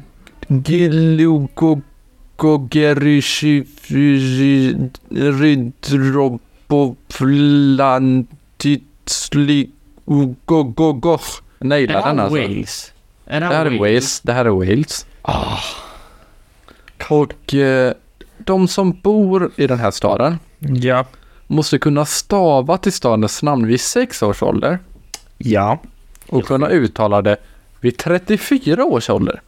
Speaker 3: gilugogerishi, Nej, det
Speaker 4: är
Speaker 3: är den
Speaker 4: det
Speaker 3: alltså.
Speaker 4: Wales? Är
Speaker 3: Det här är Wales. Det här är Wales. Och eh, de som bor i den här staden
Speaker 4: Ja.
Speaker 3: måste kunna stava till stadens namn vid 6 års ålder
Speaker 4: Ja.
Speaker 3: och kunna uttala det vid 34 års ålder.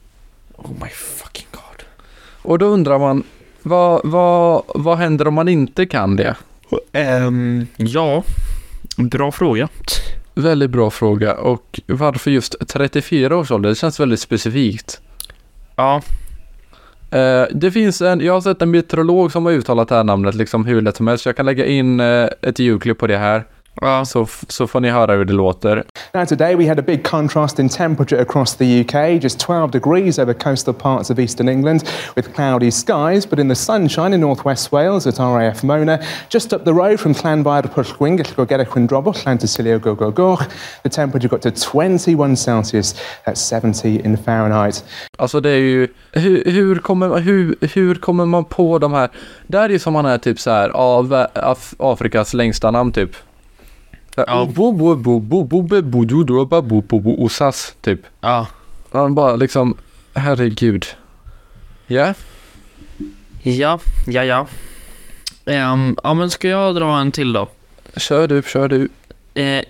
Speaker 4: Oh my fucking god.
Speaker 3: Och då undrar man, vad, vad, vad händer om man inte kan det?
Speaker 4: Ehm, ja. Bra fråga.
Speaker 3: Väldigt bra fråga och varför just 34 års ålder? Det känns väldigt specifikt.
Speaker 4: Ja,
Speaker 3: Eh, det finns en, jag har sett en meteorolog som har uttalat det här namnet liksom hur lätt som helst. Jag kan lägga in eh, ett ljudklipp på det här
Speaker 4: ja.
Speaker 3: så, f- så får ni höra hur det låter.
Speaker 11: Now, today we had a big contrast in temperature across the UK, just 12 degrees over coastal parts of eastern England with cloudy skies, but in the sunshine in northwest Wales at RAF Mona, just up the road from Llanfair Pwllgwyn, Gellgogera Chwindrobwll, Llantysilio Gogogoch, the temperature got to 21 Celsius, that's 70 in Fahrenheit.
Speaker 3: Alltså det är ju, hur, hur, kommer, hur, hur kommer man på de här? Det här är ju som man är typ så här av Af, Afrikas längsta namn typ.
Speaker 4: Ja.
Speaker 3: Osas typ.
Speaker 4: Ja.
Speaker 3: Man bara liksom, herregud. Ja,
Speaker 4: Ja, ja, ja. Ehm, ja, men ska jag dra en till då?
Speaker 3: kör du, kör du.
Speaker 4: Eh,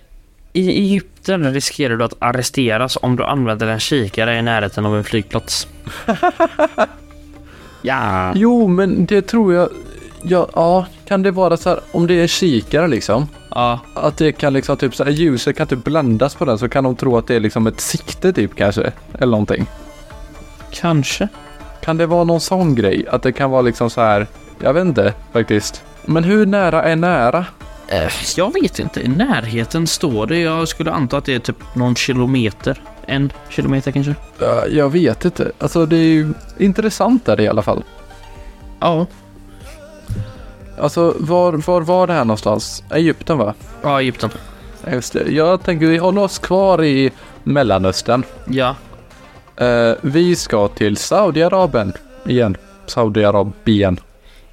Speaker 4: I Egypten riskerar du att arresteras om du använder en kikare i närheten av en flygplats. <laughs> ja.
Speaker 3: Jo, men det tror jag, ja, ja kan det vara så här om det är kikare liksom?
Speaker 4: Ja,
Speaker 3: Att det kan liksom typ så här, ljuset kan typ blandas på den så kan de tro att det är liksom ett sikte typ kanske, eller någonting.
Speaker 4: kanske.
Speaker 3: Kan det vara någon sån grej? Att det kan vara liksom så här. Jag vet inte faktiskt. Men hur nära är nära?
Speaker 4: Eh, jag vet inte. I närheten står det. Jag skulle anta att det är typ någon kilometer. En kilometer kanske.
Speaker 3: Eh, jag vet inte. Alltså det är ju intressant där i alla fall.
Speaker 4: Ja.
Speaker 3: Alltså var var, var det här någonstans? Egypten va?
Speaker 4: Ja, Egypten.
Speaker 3: Ja, Just det. Jag tänker vi håller oss kvar i Mellanöstern.
Speaker 4: Ja.
Speaker 3: Eh, vi ska till Saudiarabien igen. Saudiarabien.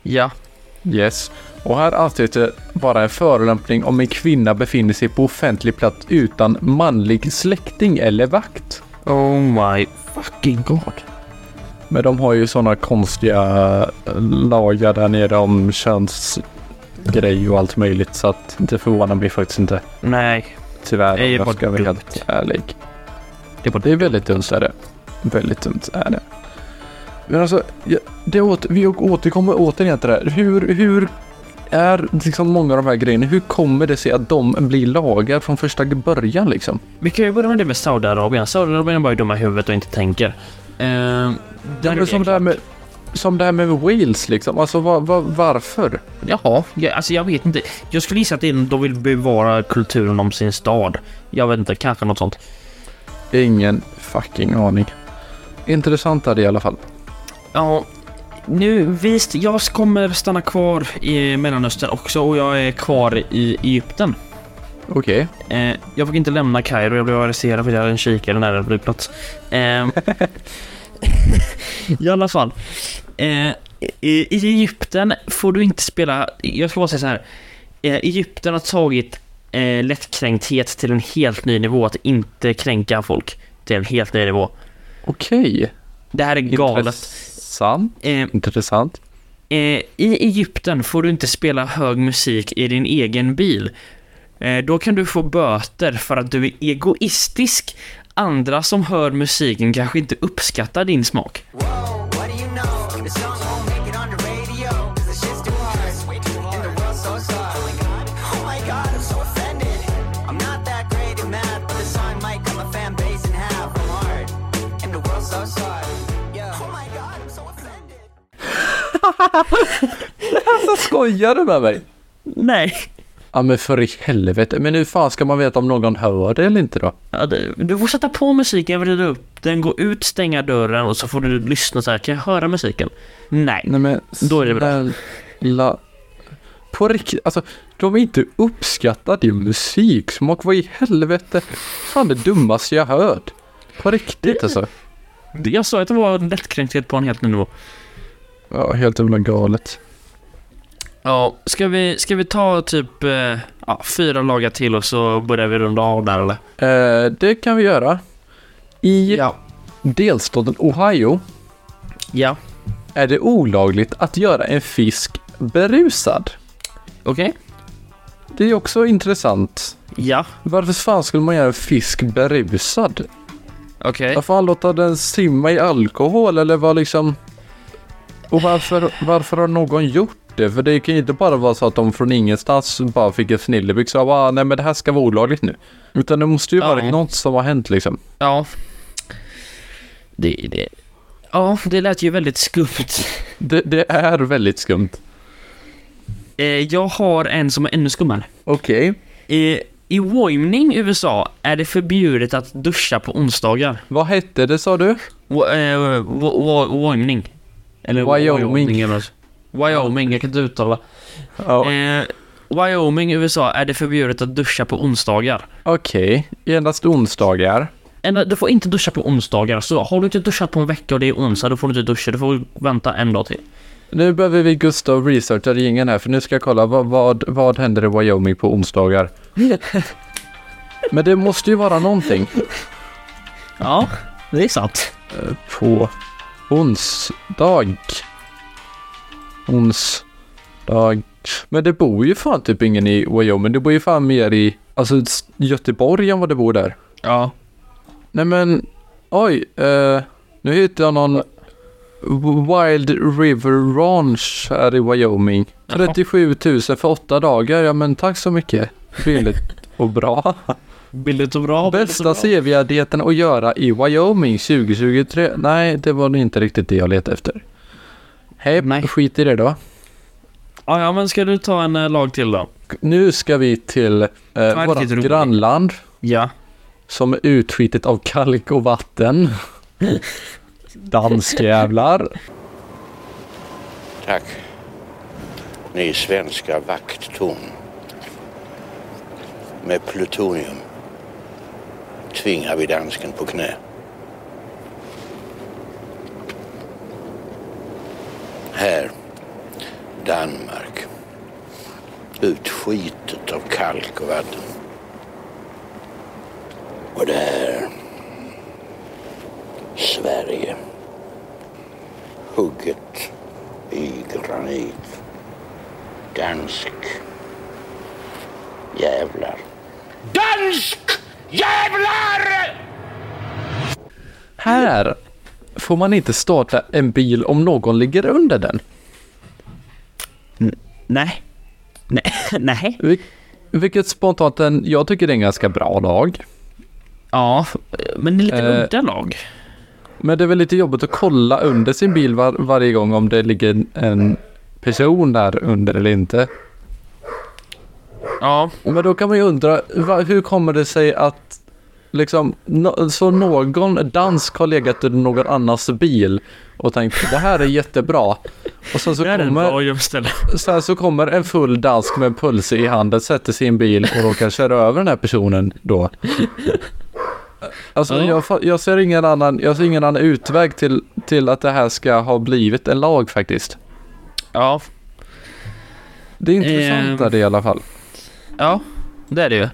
Speaker 4: Ja.
Speaker 3: Yes. Och här anses det vara en förolämpning om en kvinna befinner sig på offentlig plats utan manlig släkting eller vakt.
Speaker 4: Oh my fucking god.
Speaker 3: Men de har ju sådana konstiga eh, lagar där nere om könsgrej och allt möjligt så att det förvånar mig faktiskt inte.
Speaker 4: Nej.
Speaker 3: Tyvärr.
Speaker 4: Det är
Speaker 3: om jag
Speaker 4: bara
Speaker 3: ska vara
Speaker 4: dumt.
Speaker 3: helt ärlig.
Speaker 4: Det är bara
Speaker 3: Det är väldigt dumt är det. Väldigt dumt är det. Men alltså, ja, det åter, vi återkommer återigen till det här. Hur, hur är liksom många av de här grejerna, hur kommer det sig att de blir lagar från första början liksom?
Speaker 4: Vi kan ju börja med det med Saudiarabien. Saudiarabien är bara dumma i huvudet och inte tänker. Ehm,
Speaker 3: Ja, men som, det här med, som det här med Wales liksom, alltså va- va- varför?
Speaker 4: Jaha, jag, alltså jag vet inte. Jag skulle gissa att det är- de vill bevara kulturen om sin stad. Jag vet inte, kanske något sånt.
Speaker 3: Ingen fucking aning. Intressant är det i alla fall.
Speaker 4: Ja, nu visst, jag kommer stanna kvar i Mellanöstern också och jag är kvar i Egypten.
Speaker 5: Okej.
Speaker 4: Eh, jag fick inte lämna Kairo, jag blev arresterad för att jag hade en kikare nära en flygplats. Eh, I alla fall. Eh, i, I Egypten får du inte spela, jag ska bara säga så här. Eh, Egypten har tagit eh, lättkränkthet till en helt ny nivå, att inte kränka folk till en helt ny nivå.
Speaker 5: Okej.
Speaker 4: Det här är galet.
Speaker 5: Intressant.
Speaker 4: Eh,
Speaker 5: Intressant.
Speaker 4: Eh, I Egypten får du inte spela hög musik i din egen bil. Eh, då kan du få böter för att du är egoistisk. Andra som hör musiken kanske inte uppskattar din smak.
Speaker 7: Oh Oh
Speaker 5: Alltså skojar du med mig?
Speaker 4: Nej.
Speaker 5: Ja men för i helvete. Men hur fan ska man veta om någon hör det eller inte då?
Speaker 4: Ja, du, du får sätta på musiken, vrida upp den, gå ut, stänga dörren och så får du lyssna så här. Kan jag höra musiken? Nej.
Speaker 5: Nej men
Speaker 4: Då är det bra.
Speaker 5: snälla. På riktigt, alltså de är inte uppskattar din musiksmak. Vad i helvete? Fan det dummaste jag hört. På riktigt alltså.
Speaker 4: Det- Jag sa att det var lättkränkthet på en helt ny nivå.
Speaker 5: Ja, helt jävla galet.
Speaker 4: Ja, ska vi, ska vi ta typ eh, ja, fyra lagar till och så börjar vi runda av där eller?
Speaker 5: Eh, det kan vi göra. I delstaten Ohio
Speaker 4: Ja.
Speaker 5: är det olagligt att göra en fisk berusad.
Speaker 4: Okej?
Speaker 5: Det är också intressant.
Speaker 4: Ja.
Speaker 5: Varför fan skulle man göra en fisk berusad?
Speaker 4: Okej.
Speaker 5: Varför han låta den simma i alkohol eller vad liksom... Och varför, varför har någon gjort det? För det kan ju inte bara vara så att de från ingenstans bara fick en snillebyxa och bara "Ah, nej men det här ska vara olagligt nu. Utan det måste ju
Speaker 4: Ja.
Speaker 5: varit något som har hänt liksom.
Speaker 4: Ja. Det, det... Ja, det lät ju väldigt skumt.
Speaker 5: Det, det är väldigt skumt.
Speaker 4: Eh, jag har en som är ännu skummare.
Speaker 5: Okej.
Speaker 4: I, I Wyoming, USA, är det förbjudet att duscha på onsdagar.
Speaker 5: Vad hette det sa du?
Speaker 4: Wo- eh, wo- wo- Wyoming. Eller
Speaker 5: Wyoming.
Speaker 4: eller något. Wyoming, jag kan inte uttala.
Speaker 5: Ja.
Speaker 4: Eh, Wyoming, USA, är det förbjudet att duscha på onsdagar.
Speaker 5: Okej, endast onsdagar.
Speaker 4: En- Du får inte duscha på onsdagar, så har du inte duschat på en vecka och det är onsdag, då får du inte duscha. Du får vänta en dag till.
Speaker 5: Nu behöver vi Gustav researcha ringen här för nu ska jag kolla vad, vad, vad händer i Wyoming på onsdagar. <laughs> Men det måste ju vara någonting.
Speaker 4: Ja, det är sant.
Speaker 5: På onsdag. Onsdag. Men det bor ju fan typ ingen i Wyoming. Det bor ju fan mer i alltså, s- Göteborg än vad det bor där.
Speaker 4: Ja.
Speaker 5: Nej men, oj, eh, nu hittade jag någon Wild River Ranch här i Wyoming. 37 000 för åtta dagar, ja men tack så mycket. Billigt och bra.
Speaker 4: Billigt och bra.
Speaker 5: Bästa CV-dieten att göra i Wyoming 2023. Nej, det var nog inte riktigt det jag letade efter. Hej,
Speaker 4: Nej.
Speaker 5: skit i det då.
Speaker 4: Ja, ja, men ska du ta en eh, lag till då?
Speaker 5: Nu ska vi till eh, vårt
Speaker 4: roligt.
Speaker 5: grannland
Speaker 4: Ja.
Speaker 5: som är utskitet av kalk och
Speaker 4: <laughs>
Speaker 5: vatten. Danskjävlar.
Speaker 7: Tack. Ni svenska vakttorn. Med plutonium tvingar vi dansken på knä. Här, Danmark. Utskitet av kalk och vatten. Och där, Sverige. Hugget i granit. Dansk. Jävlar. Dansk! Jävlar!
Speaker 5: Här får man inte starta en bil om någon ligger under den.
Speaker 4: Nej. Nej. <laughs> Nej.
Speaker 5: Vil- vilket spontant en, jag tycker det är en ganska bra lag.
Speaker 4: Ja, men det är lite
Speaker 5: Eh.
Speaker 4: udda lag.
Speaker 5: Men det är väl lite jobbigt att kolla under sin bil var, varje gång om det ligger en- en person där under eller inte.
Speaker 4: Ja.
Speaker 5: Men då kan man ju undra, va, hur kommer det sig att Liksom, no, så någon dansk har legat under någon annans bil och tänkt det här är jättebra. Och sen så,
Speaker 4: Det här är en
Speaker 5: kommer,
Speaker 4: bra gömställe.
Speaker 5: sen så kommer en full dansk med en pulse i handen, sätter sig i en bil och råkar köra över den här personen då. Alltså
Speaker 4: Ja.
Speaker 5: jag, fa- jag, ser ingen annan, jag ser ingen annan utväg till, till att det här ska ha blivit en lag faktiskt.
Speaker 4: Ja,
Speaker 5: Det är intressant
Speaker 4: Ehm.
Speaker 5: där det i alla fall.
Speaker 4: ja, det är det ju.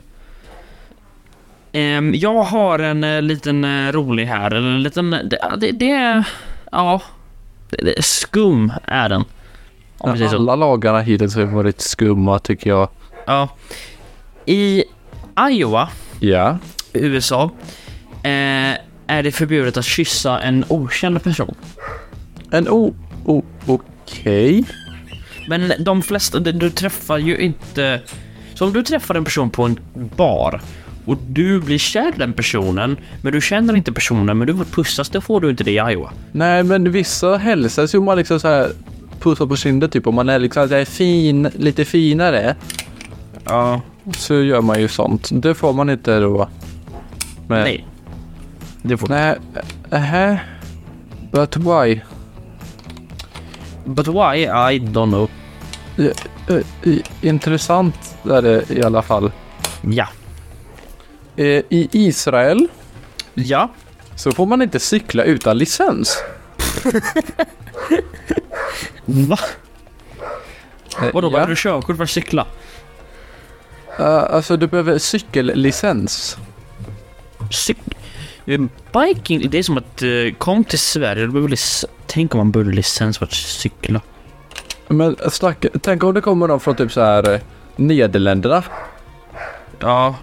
Speaker 4: Ehm, jag har en eh, liten eh, rolig här, eller en liten... eh, Det, det, det är... Ja. Det, det är skum är den. Om vi säger så.
Speaker 5: Alla lagarna hittills har ju varit skumma tycker jag.
Speaker 4: Ja. I Iowa,
Speaker 5: Ja.
Speaker 4: USA, eh, är det förbjudet att kyssa en okänd person.
Speaker 5: En o... o Okej.
Speaker 4: Men de flesta, du- du träffar ju inte... Så om du träffar en person på en bar och du blir kär i den personen, men du känner inte personen, men du får pussas, då får du inte det i Iowa.
Speaker 5: Nej men vissa hälsas ju om man liksom så här pussar på kinden typ. Om man är liksom så här fin, lite finare
Speaker 4: Ja.
Speaker 5: så gör man ju sånt. Det får man inte då. Men,
Speaker 4: Nej. Det får
Speaker 5: Nej. Ähä. But why?
Speaker 4: But why? I don't know.
Speaker 5: Eh, i- Intressant är det i alla fall.
Speaker 4: Ja.
Speaker 5: Eh, I Israel
Speaker 4: Ja.
Speaker 5: så får man inte cykla utan licens.
Speaker 4: Va?
Speaker 5: Eh,
Speaker 4: Vadå,
Speaker 5: ja.
Speaker 4: behöver du körkort för att cykla?
Speaker 5: Eh, alltså du behöver cykellicens.
Speaker 4: Cyk- eh, Biking, det är som att eh, kom till Sverige, du behöver lic- Tänk om man behöver licens för att cykla.
Speaker 5: Men stack, tänk om det kommer någon från typ så här eh, Nederländerna
Speaker 4: Ja,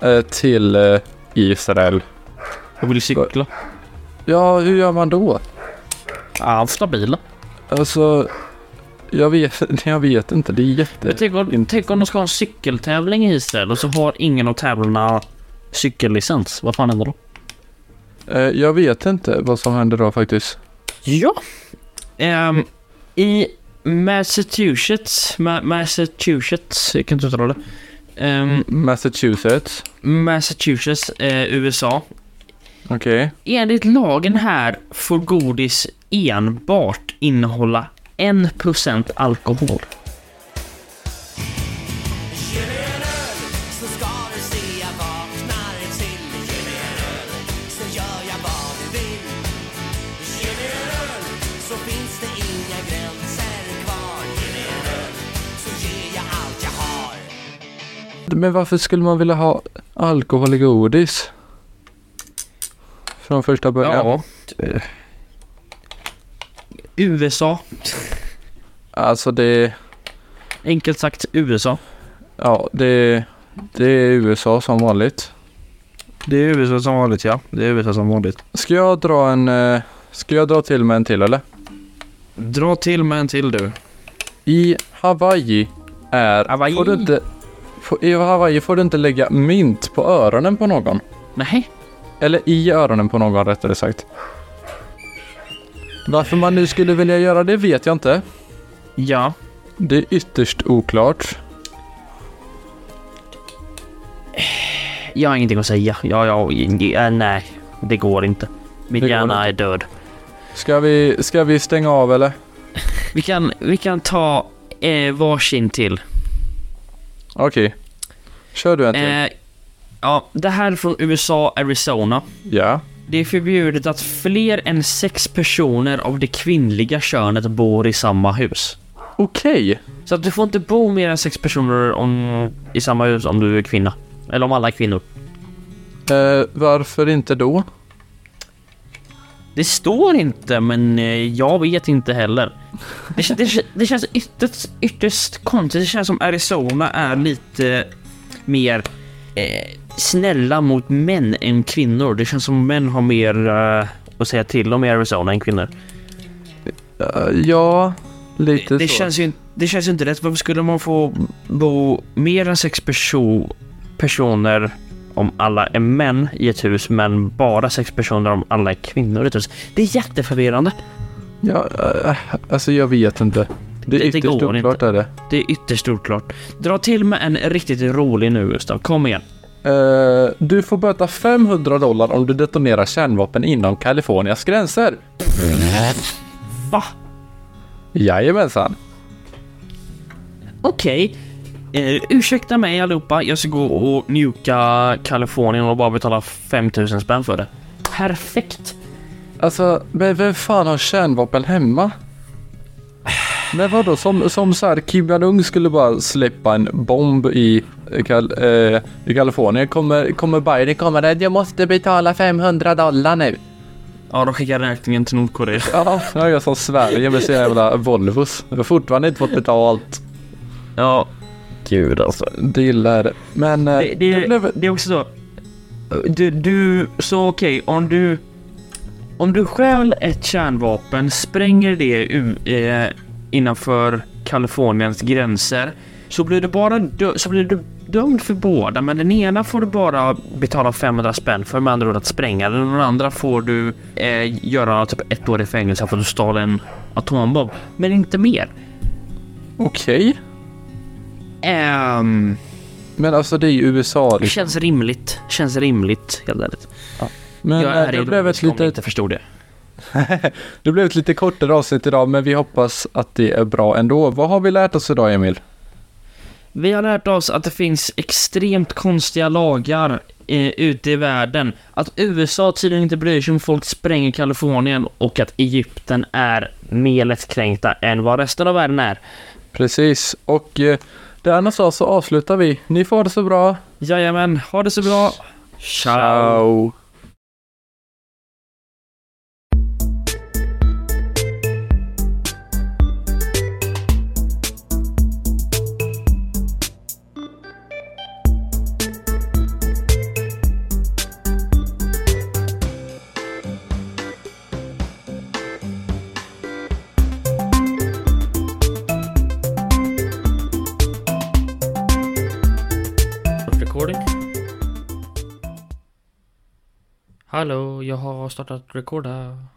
Speaker 5: eh, till eh, Israel.
Speaker 4: jag vill cykla.
Speaker 5: Ja, hur gör man då?
Speaker 4: Ja, stabila.
Speaker 5: Alltså, jag vet, <laughs> jag vet inte. Det är jätte...
Speaker 4: Tänk om, tänk om de ska ha en cykeltävling i Israel och så har ingen av tävlarna cykellicens. Vad fan händer då?
Speaker 5: Eh, jag vet inte vad som händer då faktiskt.
Speaker 4: Ja. Ehm, I Massachusetts, Ma- Massachusetts, jag kan inte uttala det. Ehm,
Speaker 5: Massachusetts.
Speaker 4: Massachusetts, eh, USA.
Speaker 5: Okej.
Speaker 4: Enligt lagen här får godis enbart innehålla 1% alkohol.
Speaker 5: Men varför skulle man vilja ha alkohol i godis? Från första början.
Speaker 4: Eh. USA.
Speaker 5: Alltså det...
Speaker 4: Enkelt sagt USA.
Speaker 5: Ja, det... Det är USA som vanligt.
Speaker 4: Det är USA som vanligt ja. Det är USA som vanligt.
Speaker 5: Ska jag dra en... eh, Ska jag dra till med en till eller?
Speaker 4: Dra till med en till du.
Speaker 5: I Hawaii är...
Speaker 4: Hawaii.
Speaker 5: Får du inte, får, I Hawaii får du inte lägga mynt på öronen på någon.
Speaker 4: Nej.
Speaker 5: Eller i öronen på någon rättare sagt. Varför man nu skulle vilja göra det vet jag inte.
Speaker 4: Ja.
Speaker 5: Det är ytterst oklart.
Speaker 4: Jag har ingenting att säga. Ja, ja, ja äh, nej. Det går inte. Min
Speaker 5: Det går
Speaker 4: hjärna är död.
Speaker 5: Ska vi, ska vi stänga av eller?
Speaker 4: Vi kan, vi kan ta eh, varsin till.
Speaker 5: Okej. Kör du en till.
Speaker 4: Eh, ja, det här är från USA, Arizona.
Speaker 5: Ja.
Speaker 4: Det är förbjudet att fler än sex personer av det kvinnliga könet bor i samma hus.
Speaker 5: Okej.
Speaker 4: Så att du får inte bo mer än sex personer om, i samma hus om du är kvinna. Eller om alla är kvinnor.
Speaker 5: Eh, varför inte då?
Speaker 4: Det står inte, men eh, jag vet inte heller. Det, kän- det, kän- det känns ytterst, ytterst konstigt. Det känns som Arizona är lite mer eh, snälla mot män än kvinnor. Det känns som män har mer eh, att säga till om i Arizona än kvinnor.
Speaker 5: Eh, ja, lite
Speaker 4: Det
Speaker 5: så.
Speaker 4: känns, ju, in- det känns ju inte rätt. Varför skulle man få bo mer än sex perso- personer om alla är män i ett hus, men bara sex personer om alla är kvinnor i ett hus? Det är jätteförvirrande.
Speaker 5: Ja, eh, alltså jag vet inte. Det är
Speaker 4: Det- det
Speaker 5: ytterst
Speaker 4: går inte.
Speaker 5: oklart är det.
Speaker 4: Det är ytterst oklart. Dra till med en riktigt rolig nu Gustav, kom igen.
Speaker 5: Eh, Eh, du får böta 500 dollar om du detonerar kärnvapen inom Kalifornias gränser.
Speaker 4: Va?
Speaker 5: Jajamensan.
Speaker 4: Okej. Eh, ursäkta mig allihopa, jag ska gå och njuka Kalifornien och bara betala 5000 spänn för det. Perfekt!
Speaker 5: Alltså, men vem fan har kärnvapen hemma? Men vadå, som, som så här Kim Jong-Un skulle bara släppa en bomb i, Kal eh, i Kalifornien. Kommer, kommer Biden komma där? Jag måste betala 500 dollar nu.
Speaker 4: Ja, de skickar räkningen till Nordkorea.
Speaker 5: Ja, jag gör som Sverige med sina jävla Volvos. Jag har fortfarande inte fått betalt.
Speaker 4: Ja. Gud alltså.
Speaker 5: Det gillar jag det. Men... eh,
Speaker 4: Det, det, det är också så. eh, Du, du så okej, om du... Om du stjäl ett kärnvapen, spränger det u- eh, innanför Kaliforniens gränser, så blir du bara dö- så blir du dömd för båda, men den ena får du bara betala 500 spänn för, med andra ord att spränga den, och den andra får du eh, göra typ ett år i fängelse för att du stal en atombomb, men inte mer.
Speaker 5: Okej.
Speaker 4: Ehm...
Speaker 5: Men alltså det är ju USA. Liksom.
Speaker 4: Känns rimligt. Känns rimligt, helt ärligt.
Speaker 5: Men
Speaker 4: jag
Speaker 5: eh,
Speaker 4: är
Speaker 5: det, blev ett
Speaker 4: ironisk om ni
Speaker 5: litet,
Speaker 4: inte förstod det.
Speaker 5: det blev ett lite kortare avsnitt idag, men vi hoppas att det är bra ändå. Vad har vi lärt oss idag, Emil?
Speaker 4: Vi har lärt oss att det finns extremt konstiga lagar eh, ute i världen. Att USA tydligen inte bryr sig om folk spränger Kalifornien och att Egypten är mer lättkränkta än vad resten av världen är.
Speaker 5: Precis, och eh, där någonstans så avslutar vi. Ni får ha det så bra.
Speaker 4: Jajamän, ha det så bra.
Speaker 5: Ciao.
Speaker 4: Ciao. Recording. Hallå, jag har startat recorda.